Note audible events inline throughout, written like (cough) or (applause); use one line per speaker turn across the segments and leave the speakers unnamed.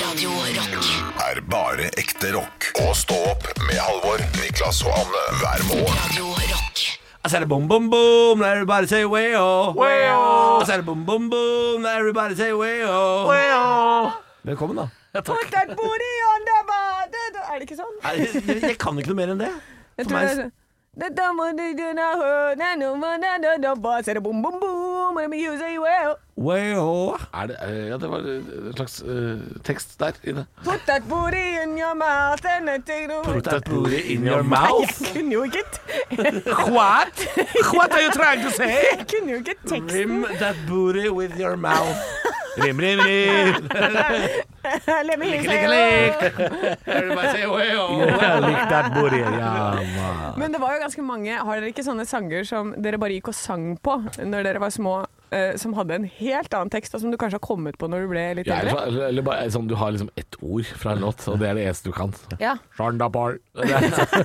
Radio Rock.
er bare ekte rock. Og stå opp med Halvor, Niklas og Anne hver morgen.
Radio Rock.
said a boom boom boom, everybody say way oh. I said a boom boom boom, everybody say way oh. Velkommen, da.
Put that booty on the body. Er det ikke sånn?
Nei, Jeg, jeg kan ikke noe mer enn det.
Jeg
For
tror det
meg
er sånn. The dumb one did you not heard, na, no, ma, na, na, na, ba, said a boom, boom, boom, let me use it well.
way oh.
Er det, eh, ja, det var en slags eh, tekst der inne.
Put that booty in your mouth and I take it away.
Put that booty in your mouth.
Jeg kunne jo ikke t- (laughs)
What? What are you trying to say?
Jeg kunne jo ikke teksten.
Rim that booty with your mouth.
Rim, rim, rim!
(laughs) Let me use
Like,
it
like.
well.
Everybody say
Oh.
wow!
Lick that booty. Ja, man.
Men det var jo ganske mange Har dere ikke sånne sanger som dere bare gikk og sang på når dere var små, eh, som hadde en helt annen tekst, og som du kanskje har kommet på når du ble litt
Ja, eller,
eldre?
så- eller, eller bare sånn, du har liksom ett ord fra en låt, og det er det eneste du kan.
Ja.
(laughs) Shandapar. liksom
Shakira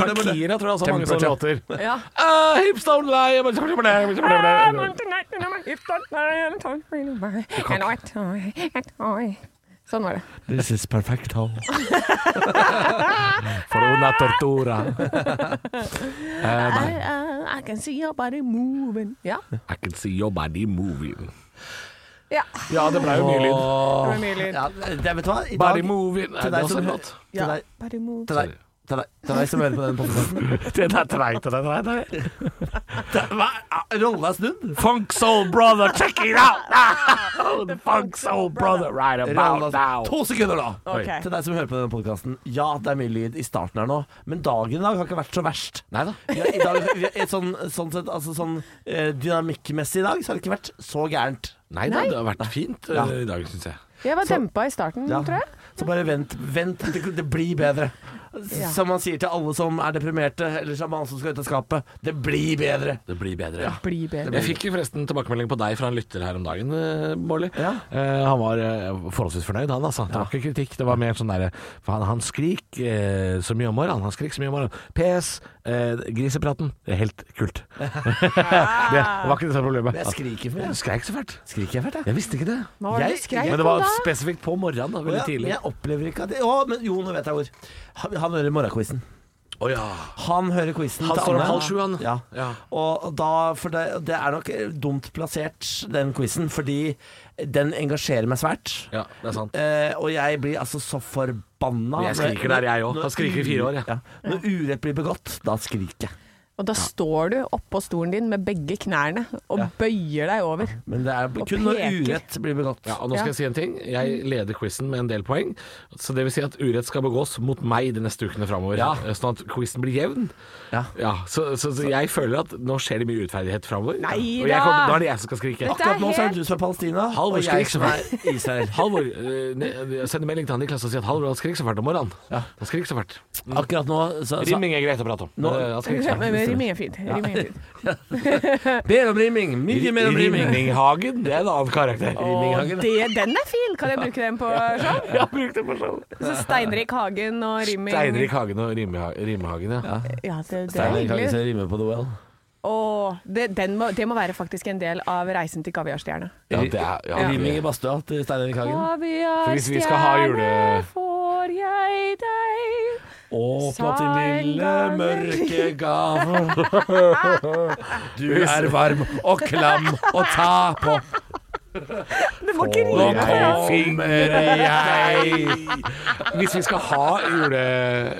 Shakira tror jeg også har mange sånne
Temperature.
låter.
ja.
Ah, hips don't lie Blablabla.
Sånn var det.
This is perfecto. For una tortura.
I, uh, I can see your body moving. Ja.
(laughs) I can see your body moving.
ja.
er
Ja, det ble jo mye lyd.
Det var mye lyd.
Ja, det, vet du hva? I dag,
Body moving. Er
til
det
deg
også
som
en
hører
låt?
Ja.
til deg-
Body
til
moving.
deg- til deg- til deg som hører på den
(laughs)
podkasten.
Den er treig til den der. ah,
Rolla er snudd.
Funk soul brother, check it (laughs) out now! The funk soul brother right
Rolla
about
er
now.
snudd. To sekunder, da!
Ok.
Til deg som hører på denne podkasten. Ja, det er mye lyd i starten her nå, men dagen i dag har ikke vært så verst.
Neida.
Vi har, i dag, vi har, sånn, sånn sett, altså sånn eh, dynamikkmessig i dag, så har det ikke vært så gærent.
Neida, det har vært fint eh,
Ja.
i dag, syns jeg.
Jeg var dempa i starten,
Ja.
Mm, tror jeg.
Så bare vent, vent, det, det blir bedre.
Ja.
Som man sier til alle som er deprimerte, eller som alle som skal ut av skapet. Det blir bedre.
Det blir bedre. Ja.
Bli bedre.
Jeg fikk jo forresten tilbakemelding på deg fra en lytter her om dagen, eh, Bårdli.
Ja.
Eh, han var eh, forholdsvis fornøyd, han altså. Det var ikke kritikk, det var mer sånn derre for Han, han skrik eh, så mye om morgenen, han skrik så mye om morgenen. PS, eh, grisepraten, det er helt kult. det var ikke det som var problemet.
Men jeg skriker for
Jeg
det.
skreik så fælt.
Skriker jeg fælt, jeg?
Jeg visste ikke det.
Hva var det
Jeg-
du skreik
Men det
om
var
da?
spesifikt på morgenen, da,
Å ja,
veldig
men
tidlig.
jeg opplever ikke at det, Å, men jo, nå vet jeg hvor. Han, han hører morgenquizen.
Å ja.
Han hører quizen
Han
til
står opp
Anne.
halv sju, han.
Ja.
Ja.
Og og da, for det, det er nok dumt plassert, den quizen, fordi den engasjerer meg svært.
Ja, det er sant.
Eh, og jeg blir altså så forbanna.
Men jeg skriker der, jeg òg.
Når-
Han skriker i fire år, jeg.
Ja. Når urett blir begått, da skriker jeg.
Og da står du oppå stolen din med begge knærne og bøyer deg over.
Men det er kun når
peker.
urett blir begått.
Ja, og nå
Ja.
skal jeg si en ting. Jeg leder quizen med en del poeng. Så det vil si at urett skal begås mot meg de neste ukene framover.
Ja.
Sånn at quizen blir jevn.
Ja.
Ja, så, så, så jeg føler at nå skjer det mye urettferdighet framover.
Nei
og
da!
jeg kommer, nå er det jeg som skal skrike.
Dette-
Akkurat
er
nå så er
helt-
det du som er Palestina, og
Halvor
jeg
skriker
som er
(laughs)
Israel.
Halvor, eh, ne- send en melding til han Niklas og si at Halvor han skriker så fælt om morgenen.
Ja.
Han skriker så fælt.
Akkurat nå så, så
Mm. Rimming er greit å prate om.
Nå-
Eh, han skriker så
(laughs)
fælt.
Men Rimming er fint. Rimming er fint.
Mellomriming! Mye mellomriming!
Rimminghagen, det er en annen karakter.
Og det, den er fin! Kan jeg bruke den på sånn?
Ja, bruk det for sånn.
Så Steinrik Hagen og Rimming
Steinrik Hagen og Rimmeha- Rimmehagen, ja.
Ja, det, det er
Steinar kan
hyggelig.
ikke rime på duell.
Åh, det, den må, det må være faktisk en del av reisen til kaviarstjerne.
Ja, det er- ja, det-
Riming i badstua til Steinar Kagen.
For hvis vi skal ha jule-
får jeg deg.
Åpna
til milde, (laughs) mørke
gaver. Du er varm og klam å ta på.
Det må ikke
Nå
rime.
kommer jeg.
Hvis vi skal ha jule, eh,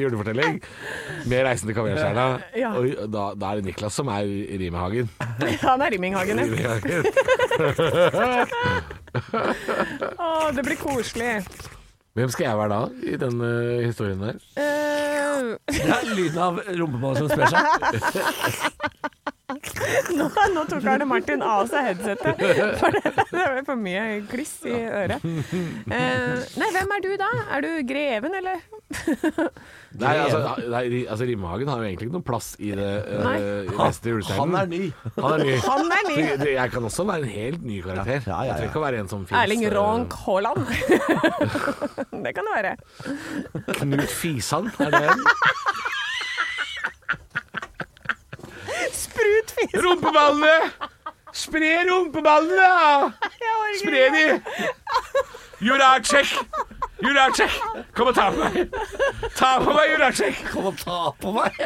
julefortelling med 'Reisen til kaviarstjerna',
Ja.
og da, da er det Niklas som er i Rimehagen.
(laughs) Han er Rimminghagen, ja. Åh, det blir koselig.
Hvem skal jeg være da i den eh, historien der?
Eh,
Det er lyden av rumpeballer som sprer seg.
(laughs) nå, nå tok Arne Martin av seg headsetet, for det, (laughs) det var for mye kliss i øret. Eh, nei, hvem er du da? Er du greven, eller?
Nei, altså, nei, ri- altså Rimehagen har jo egentlig ikke noen plass i det
Nei.
uh, neste
Han er
julestjernen.
ny.
Han er ny.
Han er min!
Så Jeg kan også være en helt ny
Ja,
karakter.
ja, ja.
Jeg trenger ikke å være en som eh, fins.
(laughs) Erling Ronk Haaland. (laughs) det kan det være.
Knut Fisan, er det en?
Sprutfis!
Rumpeballene! Spre rumpeballene!
Jeg orker ikke.
Spre de! Juracek! Juracek! Kom og ta på meg! Ta på meg, Juracek!
Kom og ta på meg!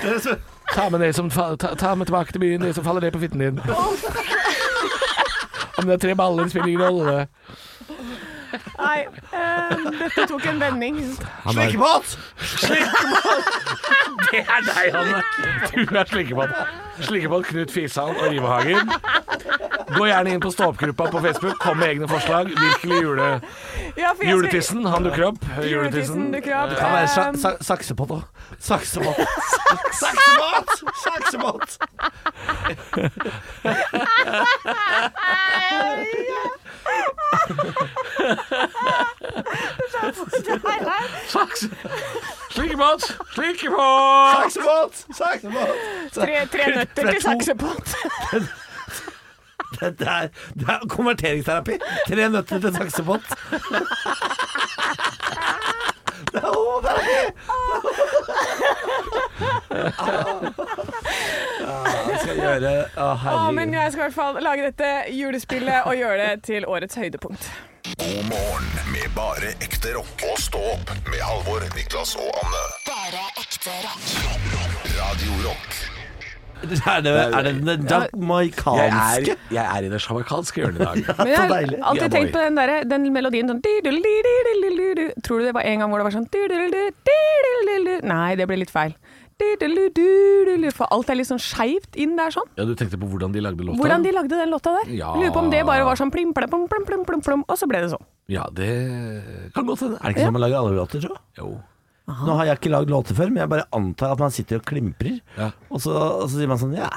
Det er så-
Ta med, det som, fa- ta, ta med tilbake til byen, det som faller ned på fitten din. Om det er tre baller, spiller ingen rolle.
Nei, eh, dette tok en vending.
Han er- (laughs)
Slikkemat!
Det er deg, Hanne. Du er slikkepott. Slikkepott Knut Fishan og Rivehagen. Gå gjerne inn på stå-opp-gruppa på Facebook. Kom med egne forslag. Virkelig jule,
Ja, for jeg skal-
juletissen. Han dukker opp.
Juletissen
Juletissen.
dukker opp.
Kan være sa
Eh,
sa saksepott òg. Saksemat. Saksemat! Saksemat!
Saks. Slikkepott! Slikkepott!
Saksemat! Saksemat!
tre, tre nøtter til saksepott.
Det er, det er konverteringsterapi. Tre nøtter til (laughs) saksepott. Det er homoterapi! Ja, vi Ah, skal gjøre Å,
Å, men
herregud.
jeg skal i hvert fall lage dette julespillet og gjøre det til årets høydepunkt.
God morgen med bare ekte rock. Og stå opp med Halvor, Niklas og Anne.
Bare ekte rock.
Radio Rock
Er det, er det den jamaicanske?
i det sjamaikanske hjørnet (laughs) i dag.
Men jeg har
deilig.
Ja,
alltid tenkt
boy.
på den, der, den melodien sånn du-du-du-du-du-du-du. Tror du det var en gang hvor det var sånn du-du-du-du, du-du-du-du-du? Nei, det ble litt feil. Du-du-du-du-du-du. For alt er litt sånn skeivt inn der sånn.
Ja, Du tenkte på hvordan de lagde låta?
Hvordan de lagde den låta der.
Ja.
Lurer på om det bare var sånn plim, plim, plim, plim, plim, plim, plim, og så ble det sånn.
Ja, det kan godt hende.
Er det ikke sånn man lager alle låter, tror jeg?
Jo.
Nå har jeg ikke lagd låter før, men jeg bare antar at man sitter og klimprer.
Ja.
Og, så, og så sier man sånn ja.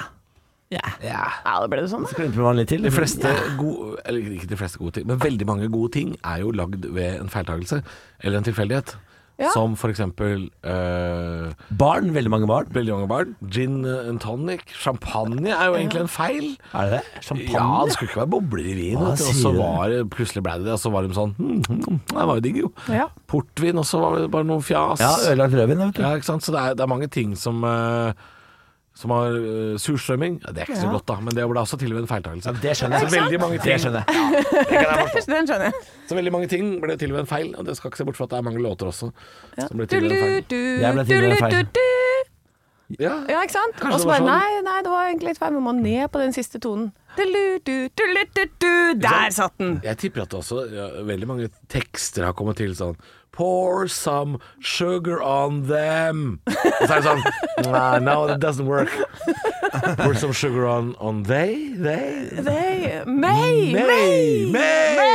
Ja.
Ja, det ble det sånn, da.
Så klimprer man litt til.
De fleste gode, eller ikke de fleste gode ting, men veldig mange gode ting er jo lagd ved en feiltagelse eller en tilfeldighet.
Ja.
Som for eksempel øh,
Barn, veldig mange barn.
veldig mange barn. Gin eh, and tonic. Champagne er jo egentlig en feil.
Er det det?
Ja,
Champagne?
det skulle ikke være bobler i vin,
Hva
vet du, og
sier
så
du?
var det, plutselig ble det det, og så var de sånn hm, hm, Det var jo digg, jo.
Ja.
Portvin også var det bare noe fjas.
Ja, ødelagt rødvin, vet du.
Ja, ikke sant? Så det er, det er mange ting som øh, som har øh, surstrømming. Ja, det er ikke så
Ja.
godt, da, men det ble også til og med en feiltagelse.
Det skjønner jeg.
Så veldig mange ting
Det skjønner jeg.
Den skjønner jeg.
Så veldig mange ting ble til og med en feil, og det skal ikke se bort fra at det er mange låter også som ble til og med en feil.
Jeg ble til og med en feil.
Du-du-du-du-du.
Ja.
Ja, ikke sant?
Kanskje
Og så
det var
bare
sånn.
nei, nei, det var egentlig litt feil. Men man ned på den siste tonen. Du-lu-du-du-lu-du-du. Der satt den!
Jeg tipper at det også ja, veldig mange tekster har kommet til sånn Pour some sugar on them. Og så er det sånn nah, No, that doesn't work. (laughs) Pour some sugar on, on
(laughs)
they, they
They, May!
May,
May!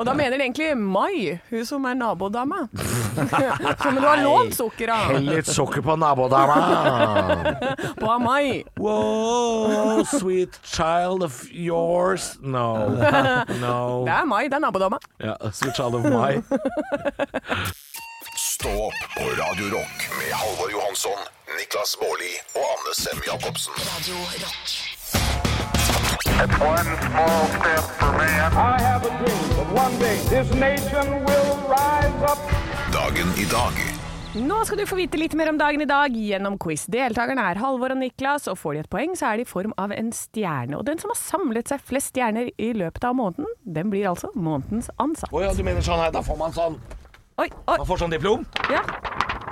Og da mener de egentlig Mai, hun som er
(laughs)
nabodama. Som du har lånt sukker av.
Hell litt sukker på nabodama.
På Mai.
Wow, sweet child of yours No. No.
Det er Mai, det er nabodama.
Ja, sweet child of mine.
Stå opp på Radio Rock med Halvor Johansson, Niklas Baarli og Anne Sem Jacobsen.
Radio rock.
It's one small step for man.
I have a dream that one day this nation will rise up.
Dagen i dag
Nå skal du få vite litt mer om dagen i dag gjennom quiz. Deltakerne er Halvor og Niklas, og får de et poeng, så er det i form av en stjerne. Og den som har samlet seg flest stjerner i løpet av måneden, den blir altså månedens ansatt.
Å ja, du mener sånn her, da får man sånn
Oi, oi,
Man får sånn diplom?
ja.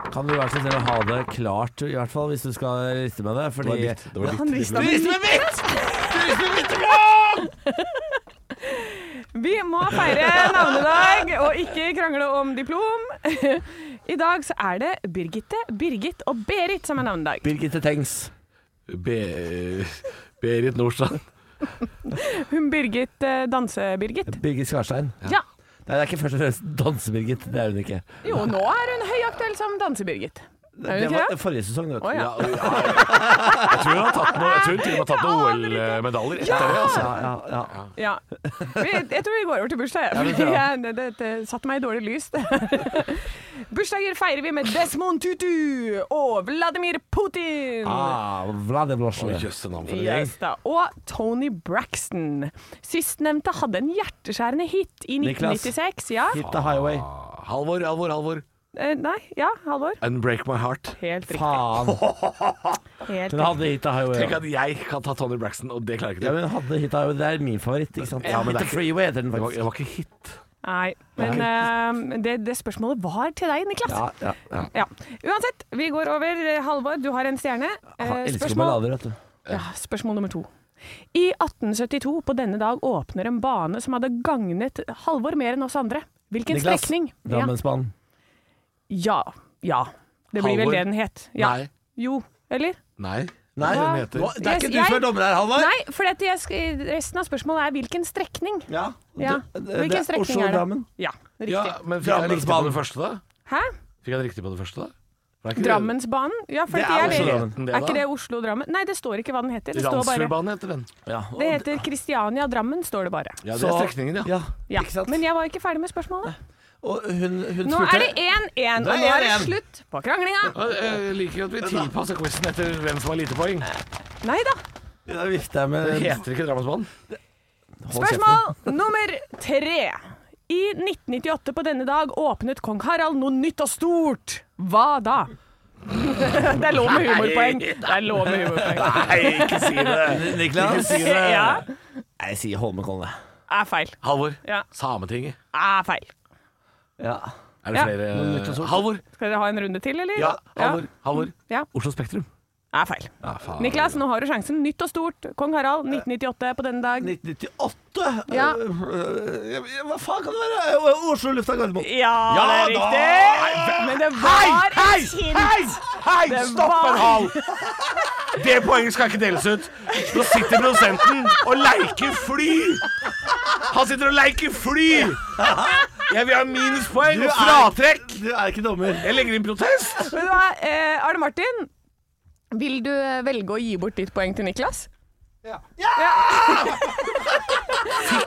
Kan du være så snill å ha det klart, i hvert fall, hvis du skal riste med det? Fordi
Det var ditt. Det var ditt.
Han rista
Du
med
rister med mitt!
Vi må feire navnedag, og ikke krangle om diplom. I dag så er det Birgitte, Birgit og Berit som er navnedag.
Birgitte Tengs.
Be Berit Nordstrand.
Hun Birgit eh, danse-Birgit.
Birgit Skarstein.
Ja.
Nei, det er ikke først og fremst danse-Birgit. Det er hun ikke.
Jo, nå er hun høyaktuell som danse-Birgit. Er hun
Det
ikke
var
det?
forrige sesong, vet du.
Å ja.
Jeg tror hun har tatt noe, jeg tror hun til og med har tatt noen OL-medaljer etter det. Altså.
Ja, ja, ja.
Ja. Vi, jeg tror vi går over til bursdag.
Ja,
(laughs) Ja,
det tror jeg.
jeg, det, det, det satte meg i dårlig lys. det her. (laughs) Bursdager feirer vi med Desmond Tutu og Vladimir Putin.
Ah, Vladivostok.
Å, Jøsse navn for en gjeng.
Yes, da. Og Tony Braxton. Sistnevnte hadde en hjerteskjærende hit i
Niklas.
1996. Ja.
Hit the highway.
Halvor, Halvor, Halvor.
Eh, nei. Ja, Halvor.
Unbreak My Heart.
Helt riktig.
Faen.
Helt
Den
riktig.
hadde hit av
Tenk
Highway.
at jeg kan ta Tony Braxton, og det klarer ikke du.
Ja, men hadde hit av Highway. Det er min favoritt, ikke sant?
Ja, men det er
Hit the Freeway heter den
det, var,
faktisk.
det var ikke hit.
Nei. Men eh, det, det spørsmålet var til deg, Niklas.
Ja, ja, ja.
Ja. Uansett, vi går over. eh, Halvor, du har en stjerne. Eh,
Jeg elsker
spørsmål,
ballader, vet du.
ja, spørsmål nummer to. I 1872 på denne dag åpner en bane som hadde gagnet Halvor mer enn oss andre. Hvilken
Niklas,
strekning? Ja.
Drammensbanen.
ja. Ja. Det blir
Halvor?
vel det den het. Ja.
Nei.
Jo. Eller?
Nei.
Nei,
Hva den heter.
Hva? det er
Jeg-
ikke du
jeg-
som er dommer her, Halvor.
Nei, for dette jeg, sk- resten av spørsmålet er hvilken strekning.
Ja.
Ja.
Det- det- det
Hvilken strekning er det?
Oslo-Drammen.
Ja,
Ja,
riktig.
men fikk jeg riktig på
Drammensbanen.
den første, da?
Hæ?
Fikk jeg riktig på den første, da? For det er ikke-
Drammensbanen? Ja, for
Det
det
er
er,
Oslo-Drammen.
det.
Enten det,
er ikke
da.
det Oslo-Drammen? Nei, det står ikke hva den heter. Det, står bare,
Randsfjordbanen heter den.
Ja.
det heter Kristiania-Drammen, står det bare.
Ja, det er strekningen, ja.
ja.
Ja.
Ikke sant?
Men jeg var ikke ferdig med spørsmålet.
Og hun, hun
Nå
spurte
er det 1-1, og
Det er
nå er det
1-1.
slutt på kranglinga.
Jeg jeg liker at vi tilpasser quizen etter hvem som har lite poeng.
Nei da.
Da vifter jeg med
Det heter ikke Drammensbanen.
Hold kjeften.
Spørsmål (laughs) nummer tre. I 1998 på denne dag åpnet kong Harald noe nytt og stort. Hva da? (laughs) Det er lov med humorpoeng. Det er lov med humorpoeng.
Nei, ikke si det!
(laughs) Niklas?
(laughs) Ja,
Nei, jeg sier Holmenkollen, jeg.
er feil.
Halvor.
Ja.
Sametinget.
Er feil.
Ja.
Er det
Ja.
flere Halvor.
Skal dere ha en runde til, eller?
Ja, Halvor. Halvor.
Ja.
Oslo Spektrum.
Er feil.
Ja, faen.
Niklas, nå har du sjansen. Nytt og stort. Kong Harald, 1998 på denne dag.
1998?
Ja.
Øh, øh, Hva faen kan det være? Øh, Oslo lufta Gardermoen.
Ja, det er
da!
riktig! Men det var en hint.
Hei,
Det
stopp
var-
en hal! Det poenget skal ikke deles ut. Nå sitter produsenten og leiker fly! Han sitter og leiker fly! Jeg vil ha minuspoeng og fratrekk.
Du er ikke dommer.
Jeg legger inn protest.
Vet du hva, eh, Arne Martin. Vil du eh, velge å gi bort ditt poeng til Niklas?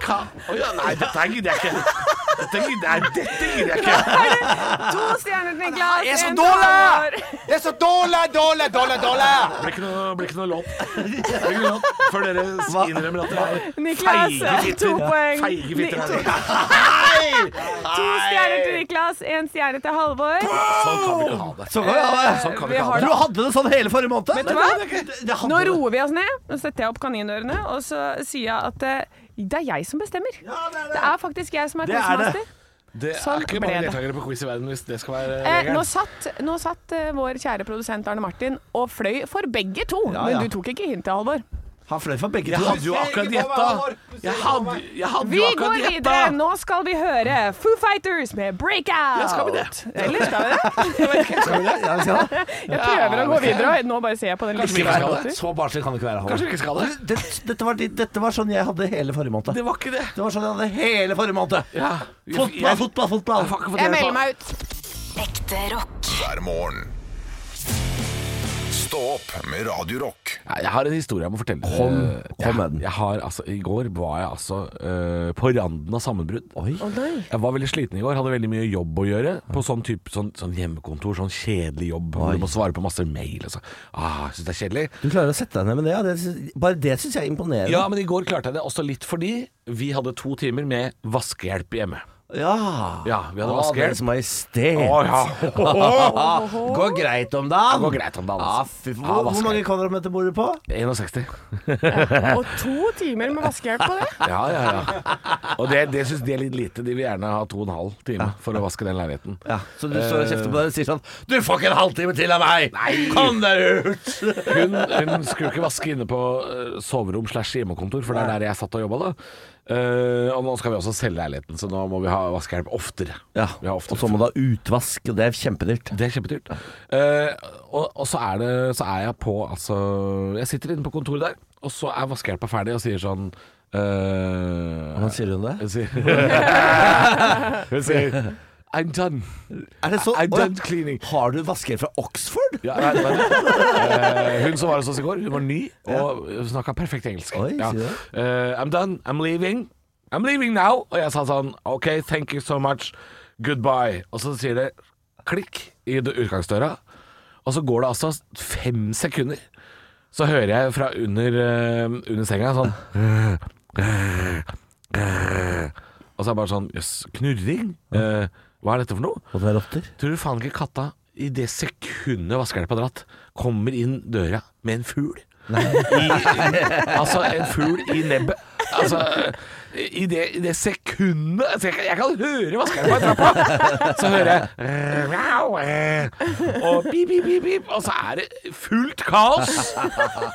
Ka- Å ja, nei, dette gidder jeg ikke. Dette gidder jeg, dette gidder jeg ikke.
To stjerner til Niklas.
Jeg er så
en
dårlig!
dollar!
Det er så dårlig, dårlig, dårlig, dårlig!
Det blir ikke noe, blir ikke noe låt. Det blir ikke noe låt Før dere innrømmer at dere er
Niklas, eh,
feige
to
fitter.
poeng.
Feige fitter. er dere.
To stjerner til Niklas, én stjerne til Halvor.
Sånn kan vi ikke ha det.
Så kan vi ha det.
Sånn kan vi
Vi
ikke ha
har
det.
Du hadde det sånn hele forrige måned.
Vet du hva?
Nei, det- det- det hadde
Nå
det.
roer vi oss ned. Nå setter jeg opp kaninørene, og så sier jeg at eh, det er jeg som bestemmer.
det er det.
Det er faktisk jeg som er
Det er det.
quizmaster.
Det
Sånn
er ikke
ble
mange
det.
deltakere på quiz i verden hvis det skal være
Eh,
regelen.
nå satt, nå satt eh, vår kjære produsent Arne Martin og fløy for begge to,
Ja, ja.
men du tok ikke hintet, Halvor.
Han fløy for begge
Jeg
to.
hadde jo akkurat gjetta. Jeg hadde, jeg hadde
Vi
jo
går
akkurat gjetta.
videre. Nå skal vi høre Foo Fighters med 'Breakout'.
Ja, skal vi det?
Eller skal vi det?
(laughs) Skal vi det? Ja, vi skal det.
Jeg prøver å gå videre. og Nå bare ser jeg på den
Kanskje vi
lista.
skal
jeg
det?
har.
Så barnslig kan det ikke være. Halvor.
Kanskje vi ikke skal det?
Dette, dette, var, de- dette var sånn jeg hadde hele forrige måned.
Det var ikke det.
Det var sånn jeg hadde hele forrige måned.
Ja.
Fotball, fotball, fotball.
Jeg melder meg
(laughs)
ut.
Ekte rock.
hver morgen. Stå opp med Radio Rock.
Jeg har en historie jeg må fortelle.
Kom-
Eh,
kom med
jeg,
den.
jeg har, altså, I går var jeg altså eh, på randen av sammenbrudd.
nei.
jeg var veldig sliten i går, hadde veldig mye jobb å gjøre. På sånn, typ, sånn, sånn hjemmekontor, sånn kjedelig jobb. hvor Du må svare på masse mail. Altså. Ah, jeg synes det er kjedelig.
Du klarer å sette deg ned med det, ja. Det sy- bare det syns jeg er imponerende.
Ja, men i går klarte jeg det også litt fordi vi hadde to timer med vaskehjelp hjemme.
Ja.
Ja, vi hadde
Å,
vaskehjelp.
Deres Majestet.
(laughs)
Går greit om dagen?
Går greit om dagen, altså.
Ja, sånn. Ah, fy,
Ja,
hvor, hvor
vasker.
mange kvadratmeter bor du på?
61.
Og to timer med vaskehjelp på det.
Ja, ja, ja. Og det, det syns de er litt lite. De vil gjerne ha to og en halv time for å vaske den leiligheten.
Ja, Så du står og kjefter på deg og sier sånn Du får ikke en halvtime til av meg! Kom deg ut!
Hun, hun skulle ikke vaske inne på eh, soverom slash hjemmekontor, for det er der jeg satt og jobba da. Eh, og nå skal vi også selge leiligheten, så nå må vi ha vaskehjelp oftere.
Ja,
Vi har oftere.
Og så må du ha utvask, og det er kjempedyrt.
Det er kjempedyrt. Eh, og, og så er det Så er jeg på Altså Jeg sitter inne på kontoret der, og så er vaskehjelpa ferdig og sier sånn eh,
Hvordan sier hun det?
Hun sier (laughs) Hun sier I'm done.
Er det så,
I'm
Å, ja.
done cleaning.
Har du vasker fra Oxford?
Ja, nei, det var det. Eh, hun som var hos oss i går, hun var ny og snakka perfekt engelsk.
Oi,
ja.
sier du
Eh, I'm done, I'm leaving. I'm leaving now. Og jeg sa sånn OK, thank you so much. Goodbye. Og så sier det klikk i d- utgangsdøra, og så går det altså fem sekunder. Så hører jeg fra under, eh, under senga sånn Og så er det bare sånn Jøss, knurring? Eh, Hva er dette for noe?
Måtte være rotter.
Tror du faen ikke katta i det sekundet vaskehelpa dratt, kommer inn døra med en fugl? I, altså en fugl i nebbet. Altså, i det, i det sekundet altså, jeg, kan- jeg kan høre vaskehelpa i trappa! Så hører jeg eh, miau, eh, Og pip, pip, pip, pip, og så er det fullt kaos!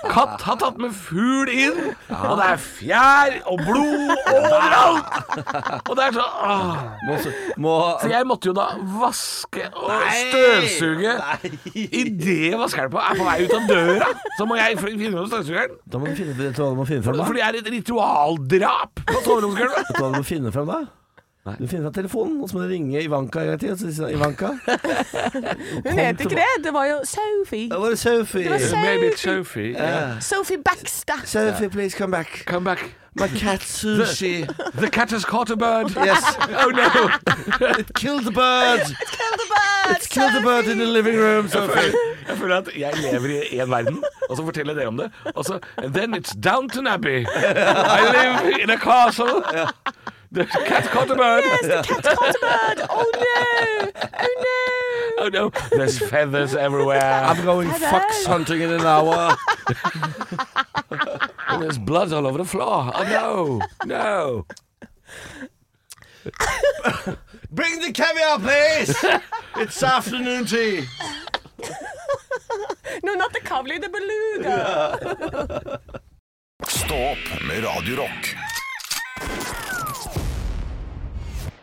Katt har tatt med fugl inn, og det er fjær og blod overalt! Og det er sånn åh.
Må, må,
Så jeg måtte jo da vaske og støvsuge idet vaskehjelpa er på vei ut av døra. Så må jeg finne fram støvsugeren.
da må du finne, vet du hva du må finne fram, da?
For det er et ritualdrap på
(laughs)
soveromsgulvet.
Vet du hva du må finne fram, da? Du finner fram telefonen, og så må du ringe Ivanka en gang til. og så sier du, Ivanka?
Hun het ikke det. Det var jo Sophie.
Det var Sophie.
var Sophie.
Maybe it's Sophie. Yeah.
Sophie Baxter.
Sophie, please come back.
Come back.
My cat sushi.
The cat has caught a bird.
Yes,
(laughs) Oh no.
kill the bird. It's kill the bird in the living room, Sophie.
Jeg føler at jeg lever i én verden, og så forteller jeg det om det. Og så And then it's Downton Abbey. I live in a castle. The cat caught a bird.
Oh no! Oh no!
Oh no. There's feathers everywhere.
I'm going fox hunting in an hour.
And there's blood all over the floor. Oh no, no.
Bring the caviar, please. It's afternoon tea.
No, not the Kavli, the beluga.
Stå opp med Radio Rock.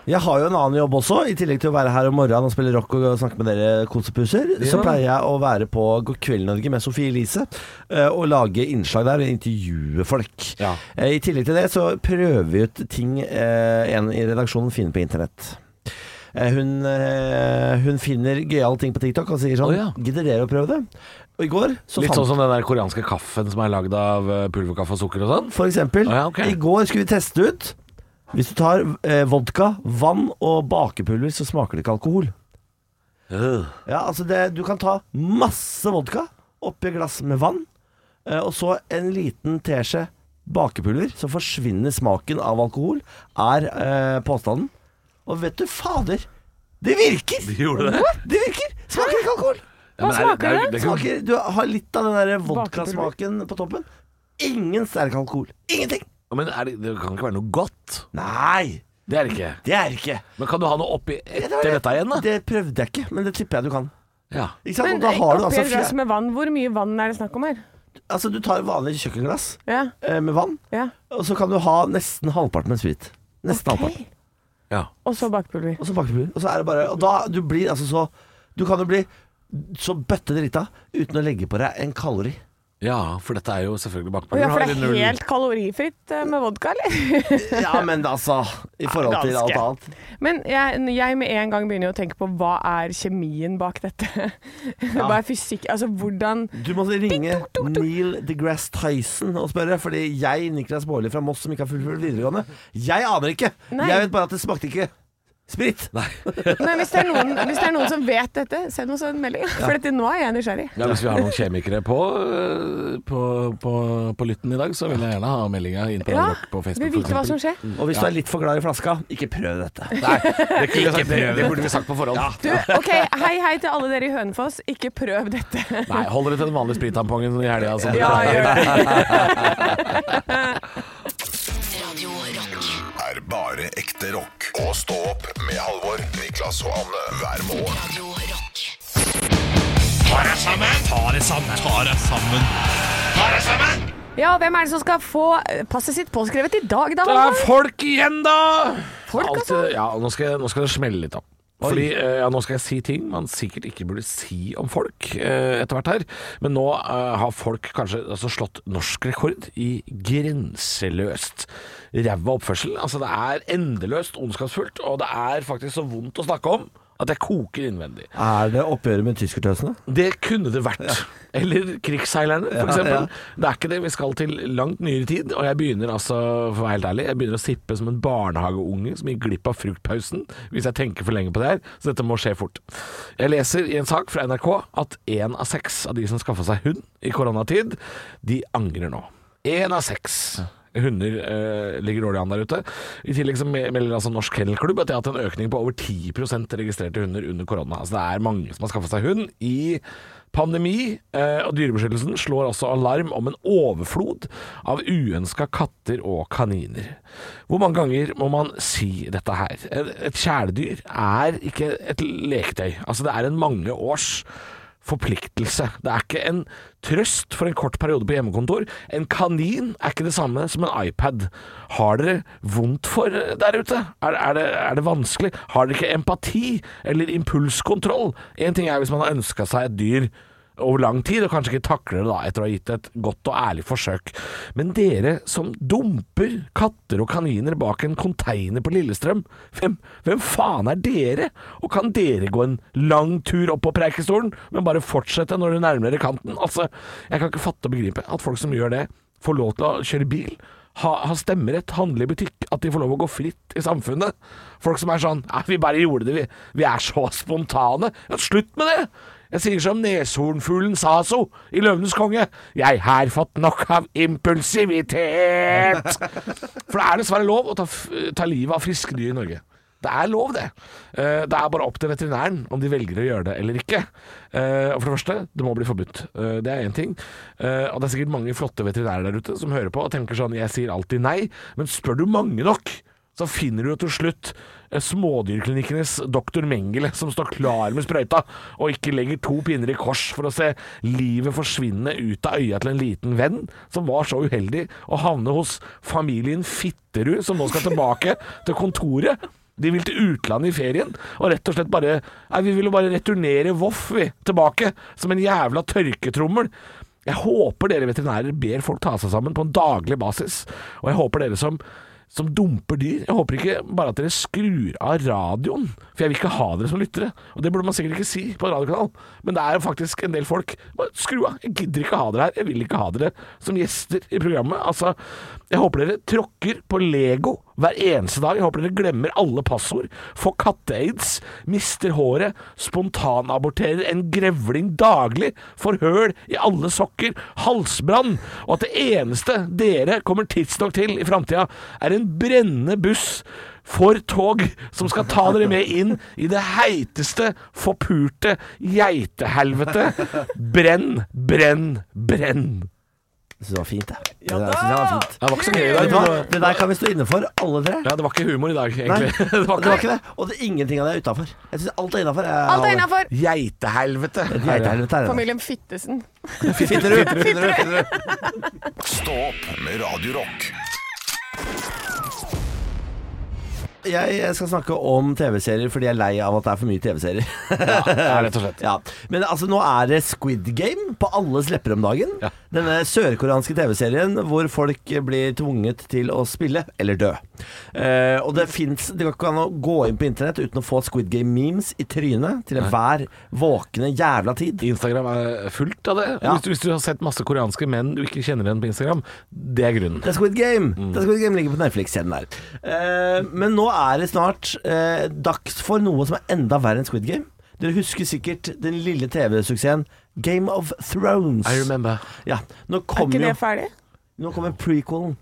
Jeg har jo en annen jobb også. I tillegg til å være her om morgenen og spille rock og snakke med dere kosepuser, så pleier jeg å være på God kveld Norge med Sofie Elise eh, og lage innslag der og intervjue folk.
Ja.
Eh, I tillegg til det så prøver vi ut ting eh, en i redaksjonen finner på internett. Eh, Hun, eh, hun finner gøyale ting på TikTok og sier sånn
Å, ja.
Gidder dere å prøve det? Og i går så
(laughs) Litt
fant
sånn som den der koreanske kaffen som er lagd av eh, pulverkaffe og sukker og sånn.
For eksempel,
Ja, ok.
i går skulle vi teste ut Hvis du tar eh, vodka, vann og bakepulver, så smaker det ikke alkohol. Ja, altså det, Du kan ta masse vodka oppi et glass med vann, eh, og så en liten teskje bakepulver, så forsvinner smaken av alkohol, er eh, påstanden. Og vet du fader, det virker!
De gjorde det?
Det virker! Smaker ikke alkohol.
Ja, men er-
smaker
er-
det?
er ikke-
Smaker, du har litt av den der vodkasmaken på toppen. Ingen sterk alkohol. Ingenting.
Ja, Men er det, det kan ikke være noe godt.
Nei,
Det er det ikke.
det er det ikke.
Men kan du ha noe oppi
Det
etter
var det-
dette igjen, da?
Det prøvde jeg ikke, men det tipper jeg du kan.
Ja.
Ikke sant?
Men
Og da har du
oppi
altså,
et glass
fjer-
med vann, hvor mye vann er det snakk om her?
altså Du tar et vanlig kjøkkenglass
Ja,
eh, med vann,
ja.
og så kan du ha nesten halvparten med sprit. Nesten halvparten.
ja.
Og så bakepulver.
Og så bakepulver. Og så er det bare Og da du blir altså så Du kan jo bli så bøtte drita uten å legge på deg en kalori.
Ja, for dette er jo selvfølgelig
Å
bakpulver.
ja, for det
da,
er
eller null.
helt kalorifritt eh, med vodka,
(laughs)
eller? (laughs)
Ja, men altså I forhold til alt annet.
Men jeg, jeg med en gang begynner jo å tenke på hva er kjemien bak dette? (laughs) Hva er fysikk Altså hvordan
Du må ringe Neil deGrasse Tyson og spørre, fordi jeg, Niklas Baarli fra Moss, som ikke har fullført videregående, jeg aner ikke.
Nei.
Jeg vet bare at det smakte ikke sprit.
Men hvis det er noen, hvis det er noen som vet dette, send oss en melding. For dette, nå er jeg nysgjerrig.
Ja, hvis vi har noen kjemikere på, eh, på, på, på lytten i dag, så vil jeg gjerne ha meldinga inn på,
Ja,
ja,
Vi
på Facebook.
vil vite hva som
for eksempel.
(laughs)
skjer.
Og hvis du er litt for glad i flaska, ikke prøv dette.
Nei, det, kunne jeg sagt, det, det burde vi sagt på forhånd.
Du, OK, hei hei til alle dere i Hønefoss. Ikke prøv dette.
(laughs) Nei, hold dere til den vanlige sprittampongen i helga. som
Ja,
dere pleier.
gjør det.
Radio Rock.
Er bare ekte rock. Og stå opp med Halvor, Niklas og Anne hver morgen.
Radio Rock.
Ja, og hvem er det som skal få eh, passet sitt påskrevet i dag, da?
Det er
Halvor?
folk igjen, da!
Folk,
Alt,
altså.
Ja, nå skal, jeg- nå skal det smelle litt, da. Fordi, eh, ja, Nå skal jeg si ting man sikkert ikke burde si om folk eh, etter hvert her. Men nå eh, har folk kanskje altså, slått norsk rekord i grenseløst ræva oppførsel. Altså Det er endeløst ondskapsfullt, og det er faktisk så vondt å snakke om at jeg koker innvendig.
Er det oppgjøret med tyskertøsene?
Det kunne det vært. Eller krigsseilerne, for eksempel.
ja.
Det er ikke det. Vi skal til langt nyere tid, og jeg begynner altså, for å være helt ærlig, jeg begynner å sippe som en barnehageunge som gikk glipp av fruktpausen, hvis jeg tenker for lenge på det her, så dette må skje fort. Jeg leser i en sak fra NRK at én av seks av de som skaffa seg hund i koronatid, de angrer nå. Én av seks. hunder eh, ligger dårlig an der ute. I tillegg så me- melder altså Norsk Kennelklubb at de har hatt en økning på over 10 registrerte hunder under korona. Altså det er mange som har skaffa seg hund i Pandemi eh, og Dyrebeskyttelsen slår også alarm om en overflod av uønska katter og kaniner. Hvor mange ganger må man si dette her? Et, et kjæledyr er ikke et leketøy. Altså, det er en mange års forpliktelse. Det er ikke en trøst for en kort periode på hjemmekontor. En kanin er ikke det samme som en iPad. Har dere vondt for eh, der ute? Er, er, det, er det vanskelig? Har dere ikke empati eller impulskontroll? En ting er hvis man har ønska seg et dyr over lang tid, og kanskje ikke takler det da etter å ha gitt et godt og ærlig forsøk. Men dere som dumper katter og kaniner bak en konteiner på Lillestrøm, hvem, hvem faen er dere? Og kan dere gå en lang tur opp på Preikestolen, men bare fortsette når du nærmer dere kanten? Altså, jeg kan ikke fatte og begripe at folk som gjør det, får lov til å kjøre bil. Ha, ha stemmerett, handle i butikk, at de får lov å gå fritt i samfunnet. Folk som er sånn «Nei, 'Vi bare gjorde det, vi. Vi er så spontane.' Ja, slutt med det! Jeg sier som neshornfuglen Saso i Løvenes konge. Jeg har fått nok av impulsivitet! For det er dessverre lov å ta, f- ta livet av friske dyr i Norge. Det er lov, det. Eh, Det er bare opp til veterinæren om de velger å gjøre det eller ikke. Eh, Og For det første, det må bli forbudt. Eh, Det er én ting. Eh, Og det er sikkert mange flotte veterinærer der ute som hører på og tenker sånn Jeg sier alltid nei, men spør du mange nok, så finner du jo til slutt eh, smådyrklinikkenes doktor Mengele som står klar med sprøyta og ikke legger to pinner i kors for å se livet forsvinne ut av øya til en liten venn som var så uheldig å havne hos familien Fitterud som nå skal tilbake (laughs) til kontoret. De vil til utlandet i ferien og rett og slett bare Nei, vi vil jo bare returnere Voff, vi, tilbake som en jævla tørketrommel. Jeg håper dere veterinærer ber folk ta seg sammen på en daglig basis, og jeg håper dere som som dumper dyr. Jeg håper ikke bare at dere skrur av radioen, for jeg vil ikke ha dere som lyttere. Og det burde man sikkert ikke si på en radiokanal, men det er jo faktisk en del folk bare Skru av, jeg gidder ikke ha dere her, jeg vil ikke ha dere som gjester i programmet. Altså, jeg håper dere tråkker på Lego hver eneste dag. Jeg håper dere glemmer alle passord, får katte-aids, mister håret, spontanaborterer en grevling daglig, får høl i alle sokker, halsbrann, og at det eneste dere kommer tidsnok til i framtida, er en brennende buss for tog som skal ta dere med inn i det heiteste, forpurte geitehelvete. Brenn, brenn, brenn.
Jeg syns det var fint, jeg. Det der synes jeg var fint.
Det var ikke så gøy i
Vet
dag.
du hva?
men-
Det der kan vi stå inne for, alle tre.
Ja, det var ikke humor i dag,
Nei,
egentlig. (laughs)
det var ikke det. Og det er ingenting av det er utafor. Jeg syns alt er innafor.
Alt er innafor.
Geitehelvete.
Geitehelvete er det.
Familien Fittesen.
Stå opp med Radio Rock.
Jeg jeg skal snakke om TV-serier fordi jeg er lei av at det er for mye TV-serier.
Ja, rett og slett.
(laughs) Ja. Men altså, nå er det Squid Game på alles lepper om dagen.
Ja.
Denne sørkoreanske TV-serien hvor folk blir tvunget til å spille eller dø. Eh, og det fins Det går ikke an å gå inn på internett uten å få Squid Game-memes i trynet til enhver våkne jævla tid.
Instagram er fullt av det.
Ja.
Hvis, du, hvis du har sett masse koreanske menn du ikke kjenner igjen på Instagram, det er grunnen.
Det er Squid Game!
Mm.
Det er Squid Game ligger på Netflix-scenen der. Eh, men nå er det snart eh, dags for noe som er enda verre enn Squid Game. Dere husker sikkert den lille TV-suksessen Game of Thrones.
I remember.
Ja, nå
Er
kommer
ikke det
jo
ferdig?
Nå kommer prequelen.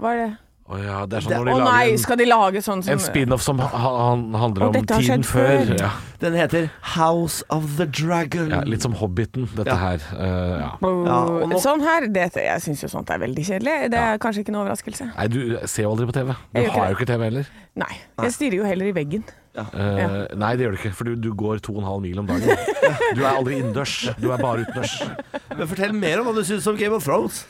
Hva er det?
Å ja, det er sånn
Det-
når
Å
de lager
nei,
en,
skal de lage sånn som
en spin-off som ha, han handler
Å,
om
dette har skjedd
tiden før.
før.
Ja.
Den heter House of the Dragon.
Ja, litt som Hobbiten, dette
Ja.
her. Eh, ja.
Ja, og nå-
Sånn her, det, jeg syns jo sånt er veldig kjedelig. Det er kanskje ikke noe overraskelse.
Nei, du ser jo aldri på TV. Du
Jeg gjør ikke
har
det.
jo ikke TV heller.
Nei. Jeg stirrer jo heller i veggen.
Eh, Nei, det gjør du ikke, for du, du går 2,5 mil om dagen. Du er aldri innendørs, du er bare utendørs.
Men fortell mer om hva du syns om Game of Thrones.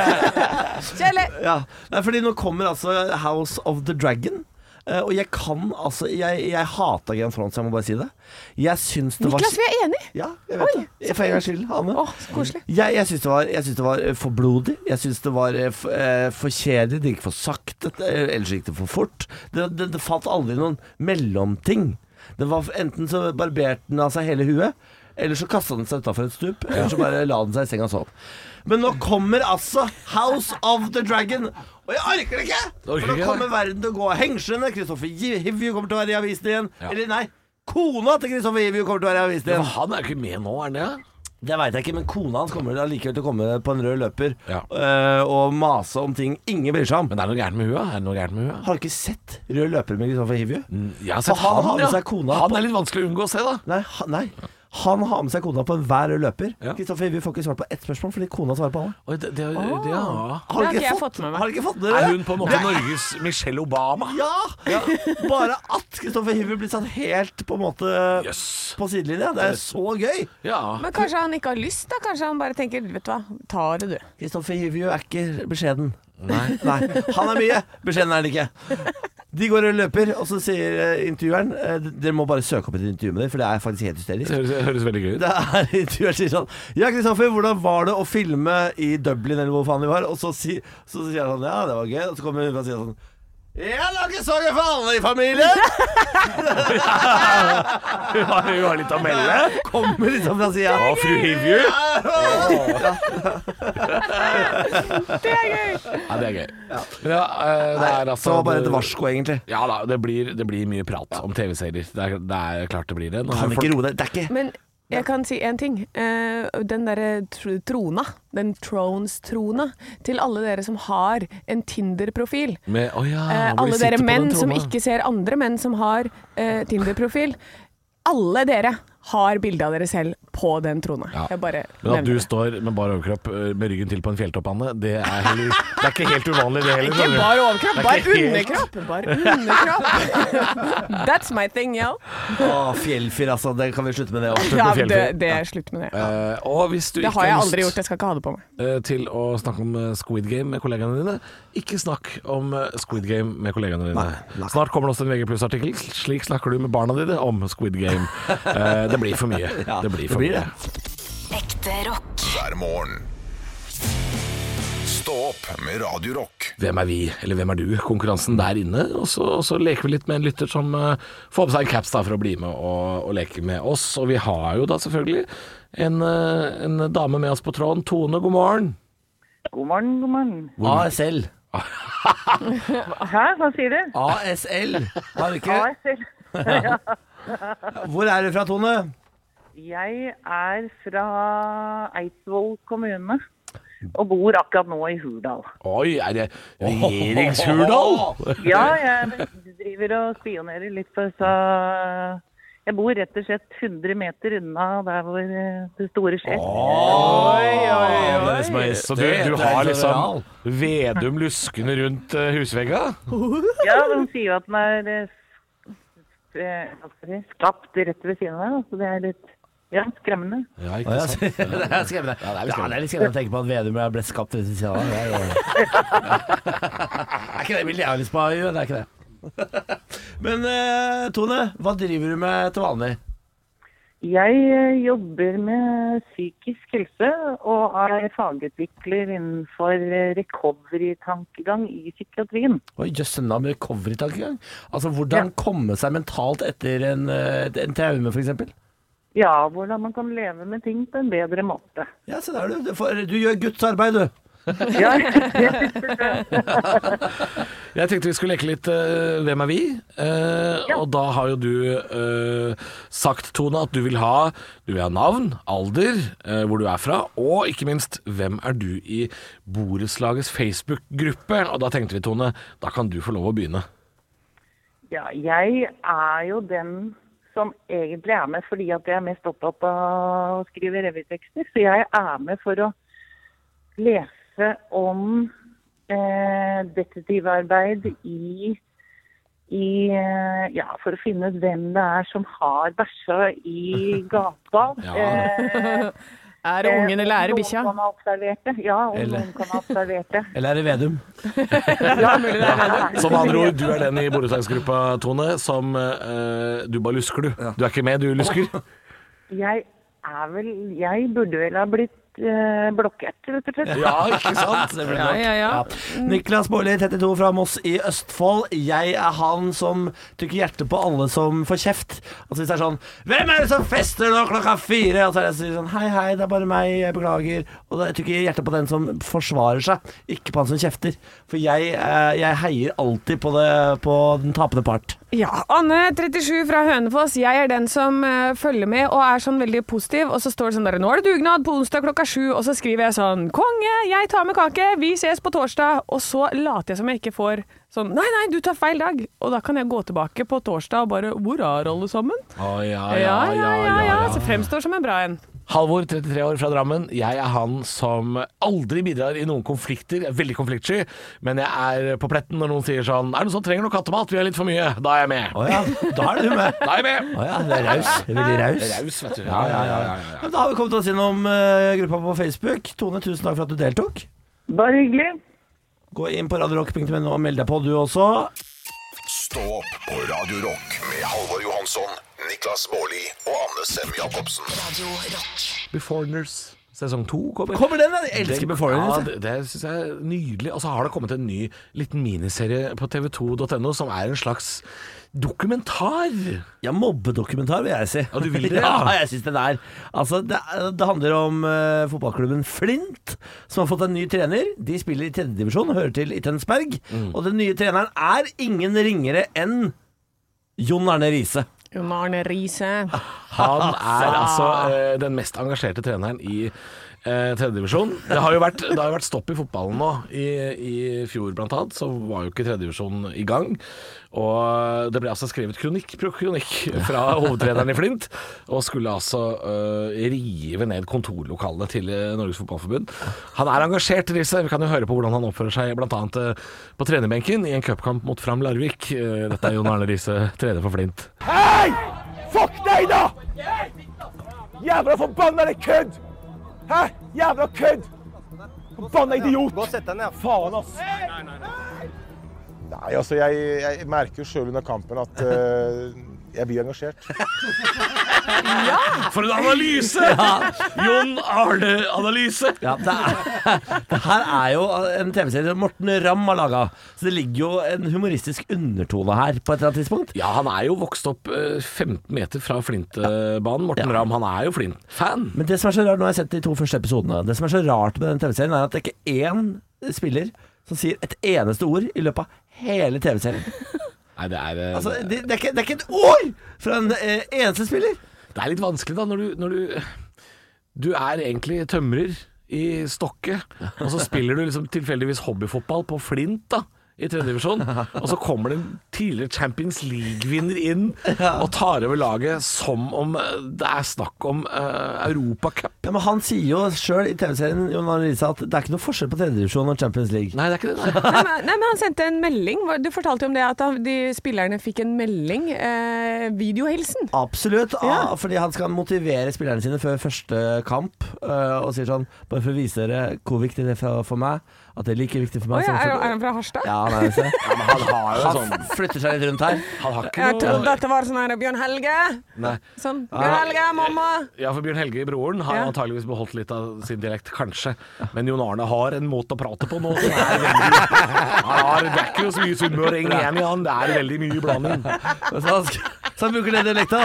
Kjedelig!
Ja, Nei, fordi nå kommer altså House of the Dragon. Eh, og jeg kan altså Jeg, jeg hata Game of Thrones, jeg må bare si det. Jeg syns det var
Niklas, vi er enige!
Ja, jeg vet det. For en gangs skyld, Hanne.
Å, så koselig.
Jeg, jeg syns det, var- jeg syns det var eh, for blodig. Jeg syns det var eh, for, eh, for kjedelig. Det gikk for sakte, eh, ellers gikk det for fort. Det, det, det falt aldri noen mellomting. Det var Enten så barberte den av seg hele huet, eller så kasta den seg utafor et stup. Eller så bare la den seg i senga og sov. Men nå kommer altså House of the Dragon. Og jeg orker det ikke!
orker
For
ikke,
nå
ja.
kommer verden til å gå av hengslene. Kristoffer Givju kommer til å være i avisen igjen.
Ja.
Eller nei, kona til Kristoffer Givju kommer til å være i avisen
Men
igjen.
han er jo ikke med nå, er han det?
Det veit jeg ikke, men kona hans kommer allikevel til å komme på en rød løper
Ja.
eh, og mase om ting ingen bryr seg om.
Men er det noe gærent med hua? Er det noe gærent med hua?
Har du ikke sett rød løper med Kristoffer Hivju?
Jeg har
For
sett
han
han,
har med
ja.
seg kona på-
han er litt vanskelig å unngå å se, da.
Nei, ha, nei. Han har med seg kona på enhver rød løper.
Ja.
Kristoffer Hivju får ikke svart på ett spørsmål fordi kona svarer på alle.
Oi, det, det, det, ja.
Har du
Det har ikke jeg fått med meg.
Har du ikke fått med
Er
dere?
hun på en måte Norges Michelle Obama?
Ja! Bare at Kristoffer Hivju blir satt helt på en måte
Jøss.
på sidelinja. Det er så gøy!
Ja.
Men kanskje han ikke har lyst, da? Kanskje han bare tenker Vet du hva, ta det, du.
Kristoffer Hivju er ikke beskjeden. (laughs) Nei. Han er mye, beskjeden er han ikke. De går og løper, og så sier eh, intervjueren eh, Dere må bare søke opp et intervju med dem, for det er faktisk helt hysterisk.
Det høres, det høres veldig gøy
(laughs)
ut.
Det er intervjuer sier sånn Ja, Kristoffer, hvordan var det å filme i Dublin, eller hvor faen vi var? Og så, si, så sier han sånn Ja, det var gøy. Og så kommer hun og sier sånn Ja, det var ikke så gøy for alle i familien!
Hun har, hun har litt å melde.
Kommer liksom fra sida.
Å, fru Hivju.
Det er gøy!
Ja, det er gøy. Men ja, eh, det er altså
Så det var bare et varsko, egentlig.
Ja da, det blir, det blir mye prat om TV-serier. Det, er- det er klart det blir det. Nå har
Kan
folk-
ikke roe deg. Det er ikke
Men jeg kan si én ting. Eh, Den derre tr- trona, den Thrones-trona, til alle dere som har en Tinder-profil.
Med, å ja,
Eh,
hvor de
alle
sitter
dere
på den
menn som
trona.
ikke ser andre menn som har eh, Tinder-profil. Alle dere har bilde av dere selv på den trona.
Ja.
Jeg bare
Men
nevner
at du
det.
står med bar overkropp eh, med ryggen til på en fjelltopp, Anne, det er, heller, det er ikke helt uvanlig det heller.
Ikke
skjønner du.
bare overkropp,
Det er
bare
ikke helt-
underkropp! Bare underkropp. (laughs) That's my thing, yo.
Å, fjellfyr, altså. Det kan vi slutte med det òg.
Ja,
fjellfri.
det, det Slutt med det.
Eh, og hvis du
Det
ikke
har jeg
lyst-
aldri gjort. Jeg skal ikke ha det på meg.
eh, til å snakke om eh, Squid Game med kollegaene dine. Ikke snakk om eh, Squid Game med kollegaene dine. Snart kommer det også en VG artikkel Slik snakker du med barna dine om Squid Game. Eh, det blir for mye.
(laughs)
det blir for
det blir
mye.
Ekte rock.
hver morgen. Stå opp med Radio Rock.
Hvem er vi, eller hvem er du? Konkurransen der inne. Og så, og så leker vi litt med en lytter som eh, får på seg en caps da for å bli med og, og leke med oss. Og vi har jo da selvfølgelig en, eh, en dame med oss på tråden. Tone, god morgen.
God morgen, god morgen.
ASL.
Hæ, hva sier du?
ASL. Har vi ikke?
ASL.
Hvor er du fra, Tone?
Jeg er fra Eidsvoll kommune og bor akkurat nå i Hurdal.
Oi, er det regjeringshurdal?
Ja, jeg driver og spionerer litt, for så jeg bor rett og slett 100 meter unna der hvor eh, det store skjer.
Så du, du har liksom Vedum luskende rundt eh, husvegga?
Ja, de sier jo at den er eh, f- eh, hva skal jeg si, skapt rett ved siden av her, da, så det er litt ja, skremmende.
Å,
Ja, ikke
ja,
sant?
(laughs) det er skremmende. Ja, det er litt skremmende å tenke på at Vedum ble skapt ved siden av. Det (laughs) er- Er ikke det bildet jeg har lyst på? Jo, det er ikke det. (laughs) Men eh, Tone, hva driver du med til vanlig?
Jeg eh, jobber med psykisk helse og er fagutvikler innenfor eh, recovery-tankegang i psykiatrien.
Oi, jøss, en med recovery-tankegang. Altså, hvordan komme seg mentalt etter en, eh, en traume, f.eks.?
Ja, hvordan man kan leve med ting på en bedre måte.
Ja, se der, du. Du, får, du gjør Guds arbeid, du.
Ja, det synes jeg.
(laughs) Jeg tenkte vi skulle leke litt eh, Hvem er vi? Eh, Og da har jo du eh, sagt, Tone, at du vil ha Du vil ha navn, alder, eh, hvor du er fra, og ikke minst hvem er du i borettslagets Facebook-gruppe? Og da tenkte vi, Tone, da kan du få lov å begynne.
ja, jeg er jo den som egentlig er med fordi at jeg er mest opptatt av å skrive revytekster. Så jeg er med for å lese om eh, detektivarbeid i, i eh, Ja, for å finne ut hvem det er som har bæsja i gata.
Ja.
Eh,
Er ungen eller er det bikkja?
Om noen kan ha observert det. Ja, om
Eller-
noen kan ha observert det.
Eller er det Vedum?
Så med andre ord, du er den i borettslagsgruppa, Tone, som eh, Du bare lusker, du. Du er ikke med, du lusker.
Jeg er vel Jeg burde vel ha blitt eh, blokkert, rett og slett.
(laughs) Ja, ikke sant? (laughs)
(laughs)
Det blir
Ja,
nok.
ja, Mm. ja.
Niklas Baarli, 32 fra Moss i Østfold. Jeg er han som trykker hjertet på alle som får kjeft. Altså Hvis det er sånn 'Hvem er det som fester nå klokka fire?' Og så er det sånn 'Hei, hei, det er bare meg, jeg beklager'. Og da trykker jeg hjertet på den som forsvarer seg, ikke på han som kjefter. For jeg, eh, jeg heier alltid på, det, på den tapende part.
Ja, Anne 37 fra Hønefoss. Jeg er den som eh, følger med og er sånn veldig positiv. Og så står det sånn der Nå er det dugnad på onsdag klokka sju. Og så skriver jeg sånn Konge, jeg tar med kake. Vi ses på torsdag. Og så later jeg som jeg ikke får sånn Nei, nei, du tar feil dag. Og da kan jeg gå tilbake på torsdag og bare Hvor er alle sammen?
Å, ja,
Ja, ja, ja. ja, Så fremstår som en bra en.
Halvor, 33 år fra Drammen. Jeg er han som aldri bidrar i noen konflikter. Jeg er veldig konfliktsky, men jeg er på pletten når noen sier sånn Er det noen som trenger noe kattemat? Vi har litt for mye. Da er jeg med.
Å ja, da er det du med.
Da er jeg med!
Å ja, det er raus. Det er Veldig
(laughs)
raus.
Raus, vet du.
Ja, ja, ja, ja. Men Da har vi kommet oss gjennom eh, gruppa på Facebook. Tone, tusen takk for at du deltok.
Bare hyggelig.
Gå inn på radiorock.no og meld deg på, du også.
Stå opp på Radio Rock med Halvor Johansson, Niklas Baarli og Anne Sem Jacobsen.
Radio Rock.
Beforeigners sesong to kommer.
Kommer den? Jeg elsker
Den-
Beforeigners.
Ja, det, det synes jeg er nydelig. Og så har det kommet en ny liten miniserie på tv2.no som er en slags dokumentar.
Ja, mobbedokumentar vil jeg si.
Ja,
(laughs)
du vil det,
ja.
ja.
jeg syns den er. Altså, det, det handler om eh, fotballklubben Flint, som har fått en ny trener. De spiller i tredjedivisjon, hører til i Tønsberg. Og den nye treneren er ingen ringere enn Jon Arne Riise.
Jon Arne Riise.
Han er altså eh, den mest engasjerte treneren i eh, tredjedivisjon. Det, har jo vært- det har jo vært stopp i fotballen nå. I, I fjor blant annet så var jo ikke tredjedivisjon i gang. Og det ble altså skrevet kronikk på kronikk fra hovedtreneren i Flint, og skulle altså eh, rive ned kontorlokalene til eh, Norges Fotballforbund. Han er engasjert, Risse. Vi kan jo høre på hvordan han oppfører seg blant annet eh, på trenerbenken i en cupkamp mot Fram Larvik. Eh, Dette er Jon Arne Riise, trener for Flint.
Hei! Fuck deg, da! Jævla forbanna kødd! Hæ? Jævla kødd! Forbanna idiot! Gå og sett deg ned. Faen, ass. Nei, altså, jeg, jeg merker jo sjøl under kampen at eh, jeg blir engasjert.
For en
(laughs)
analyse! Jon Arne-analyse.
Ja, det, er, (laughs) det her er jo en TV-serie som Morten Ramm har laga, så det ligger jo en humoristisk undertone her på et eller annet tidspunkt.
Ja, han er jo vokst opp eh, 15 meter fra Flint-banen. Morten Ramm, han er jo Flint-fan.
Men det som er så rart, nå har jeg sett de to første episodene Det som er så rart med den TV-serien er at det er ikke én spiller som sier et eneste ord i løpet av hele TV-serien.
Nei, det er, eh,
Altså, det, det, er ikke, det er ikke et ord fra en eh, eneste spiller!
det er litt vanskelig, da, når du, når du Du er egentlig tømrer i Stokke, og så spiller du liksom tilfeldigvis hobbyfotball på Flint, da. I tredje divisjon Og så kommer det en tidligere Champions League-vinner inn og tar over laget som om eh, det er snakk om uh, Europacup.
Ja, men han sier jo sjøl i TV-serien Jon Arne Riise, at det er ikke noe forskjell på tredjedivisjon og Champions League.
Nei, det er ikke det. Nei.
(laughs) Nei, men, nei, men han sendte en melding. Hva- Du fortalte jo om det at han- de spillerne fikk en melding. Eh, videohilsen.
Absolutt,
Ja.
ah, fordi han skal motivere spillerne sine før første kamp. eh, og sier sånn Bare for å vise dere hvor viktig det er for, for meg, at det er like viktig for
Å
meg
ja,
som
er,
for
er han fra Harstad?
Ja, han er det.
Ja, men han har jo
Han
sånn
flytter seg litt rundt her.
Han har ikke
Jeg
noe
trodde at det var sånn her Bjørn Helge.
Nei.
Sånn. Bjørn Helge, mamma!
Ja, for Bjørn Helge, broren, har
Ja.
antageligvis beholdt litt av sin dialekt, kanskje. Men Jon Arne har en måte å prate på nå som er veldig Han har det er ikke så mye sunnmøring igjen i han. Det er veldig mye blanding.
Og Så han, sk- så han bruker den dialekta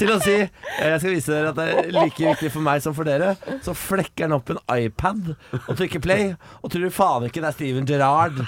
til å si eh, Jeg skal vise dere at det er like viktig for meg som for dere. Så flekker han opp en iPad og trykker play, og tror faen ikke det er Steven Gerrard.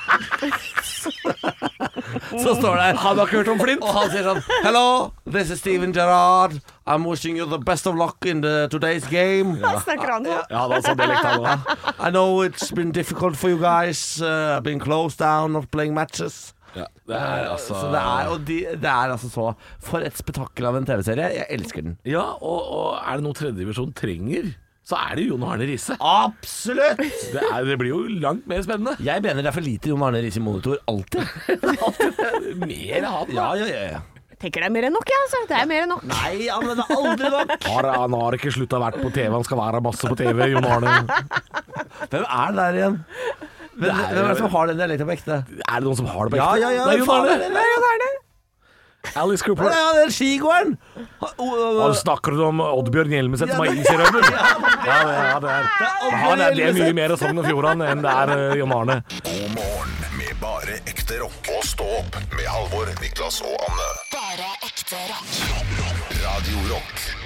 Så står det Han har ikke hørt om Flint. Og han sier sånn Hello, this is Steven Gerrard. I'm wishing you the best of luck in the today's game.
Snakker han sånn?
ah, Ja, det er sånn dialekt han har.
I know it's been difficult for you guys. Uh, I've been closed down, not playing matches.
Ja, det er altså
Eh, Så det er, og de, det er altså så For et spetakkel av en TV-serie. Jeg elsker den.
Ja, og, og er det noe tredjedivisjon trenger, så er det Jon Arne Riise.
Absolutt!
Det, er- det blir jo langt mer spennende.
Jeg mener det er for lite Jon Arne Riise i monitor. Alltid.
Mer han, da.
Ja, ja, ja, ja.
Jeg Tenker det er mer enn nok, jeg, altså. Det er mer enn nok.
Nei, han er aldri nok.
Har, han har ikke slutta å være på TV. Han skal være masse på TV, Jon Arne.
Hvem er det der igjen? Hvem, hvem er det som har den dialekta på ekte?
Er det noen som har det på
Ja,
ekte?
ja, ja.
Det er Jon
faen
Arne.
er det? Nei, Jon Arne.
Alice
Ja,
Cooper.
ja, den skigåeren. Ha- o- o-
Og
o-
snakker du om Oddbjørn Hjelmeset som har is i rømmen? Ja, det er det. Er. Ja, det, er, det er mye mer Sogn og Fjordane enn det er eh, Jon Arne.
God morgen med bare ekte rock. Og stå opp med Halvor, Niklas og Anne.
Bare ekte rock.
Radio Rock.